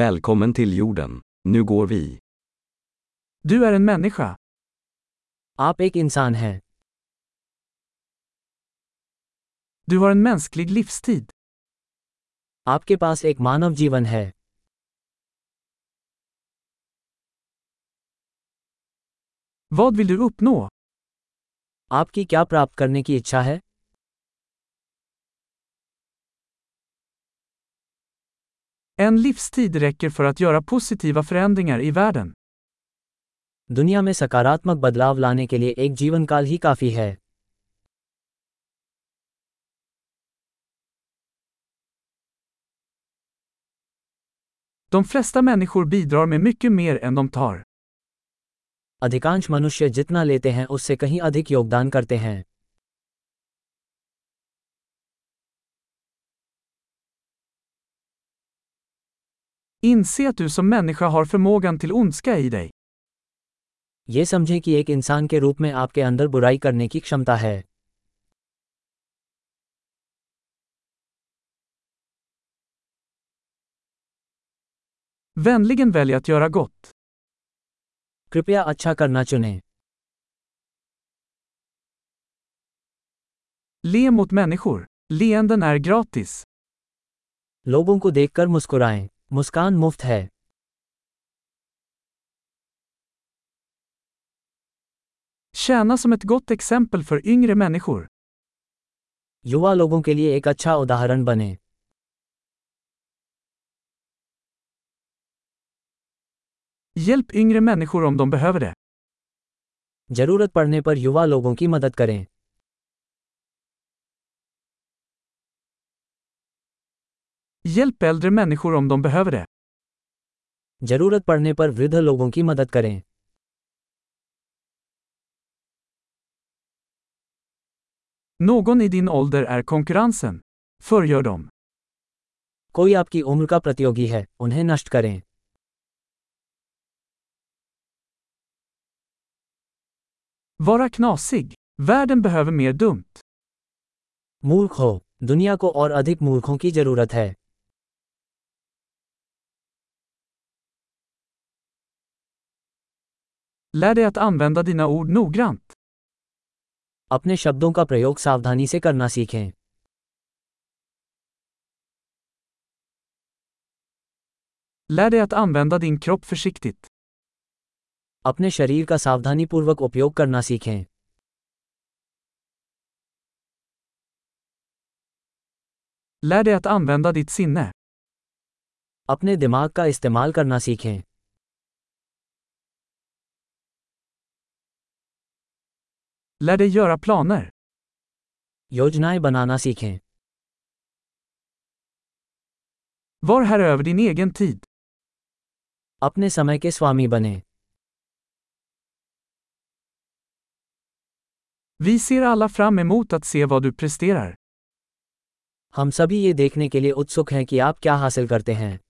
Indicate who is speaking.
Speaker 1: Välkommen till jorden. Nu går vi.
Speaker 2: Du är en människa.
Speaker 3: आप एक इंसान हैं
Speaker 2: Du har en mänsklig livstid.
Speaker 3: आपके पास एक मानव जीवन है
Speaker 2: Vad vill du uppnå?
Speaker 3: आपकी क्या प्राप्त करने की इच्छा है
Speaker 2: En livstid räcker för att göra positiva förändringar i världen.
Speaker 3: दुनिया में सकारात्मक बदलाव लाने के लिए एक जीवन काल ही काफी है
Speaker 2: De flesta människor bidrar med mycket mer än de tar.
Speaker 3: अधिकांश मनुष्य जितना लेते हैं उससे कहीं अधिक योगदान करते हैं
Speaker 2: Inse att du som människa har förmågan till ondska i dig.
Speaker 3: ये समझें कि एक इंसान के रूप में आपके अंदर बुराई करने की क्षमता है
Speaker 2: Vänligen välj att göra gott.
Speaker 3: कृपया अच्छा करना चुनें
Speaker 2: Le mot människor. Leenden är gratis.
Speaker 3: लोगों को देखकर मुस्कुराएं मुस्कान मुफ्त है
Speaker 2: Tjäna som ett gott exempel för yngre människor.
Speaker 3: युवा लोगों के लिए एक अच्छा उदाहरण बने
Speaker 2: Hjälp yngre människor om de behöver det.
Speaker 3: जरूरत पड़ने पर युवा लोगों की मदद करें
Speaker 2: Hjälp äldre människor om de behöver det.
Speaker 3: जरूरत पड़ने पर वृद्ध लोगों की मदद करें
Speaker 2: Någon i din ålder är konkurrensen. Förgör dem.
Speaker 3: कोई आपकी उम्र का प्रतियोगी है उन्हें नष्ट करें
Speaker 2: Vara knasig. Världen behöver mer dumt.
Speaker 3: मूर्ख हो दुनिया को और अधिक मूर्खों की जरूरत है
Speaker 2: Lär dig att använda dina ord noggrant.
Speaker 3: अपने शब्दों का प्रयोग सावधानी से करना सीखें
Speaker 2: Lär dig att använda din kropp försiktigt.
Speaker 3: अपने शरीर का सावधानीपूर्वक उपयोग करना सीखें
Speaker 2: Lär dig att använda ditt sinne.
Speaker 3: अपने दिमाग का इस्तेमाल करना सीखें
Speaker 2: Lär dig göra planer.
Speaker 3: योजनाएं बनाना सीखें
Speaker 2: Var herre över din egen tid.
Speaker 3: अपने समय के स्वामी बने
Speaker 2: Vi ser alla fram emot att se vad du presterar.
Speaker 3: हम सभी ये देखने के लिए उत्सुक हैं कि आप क्या हासिल करते हैं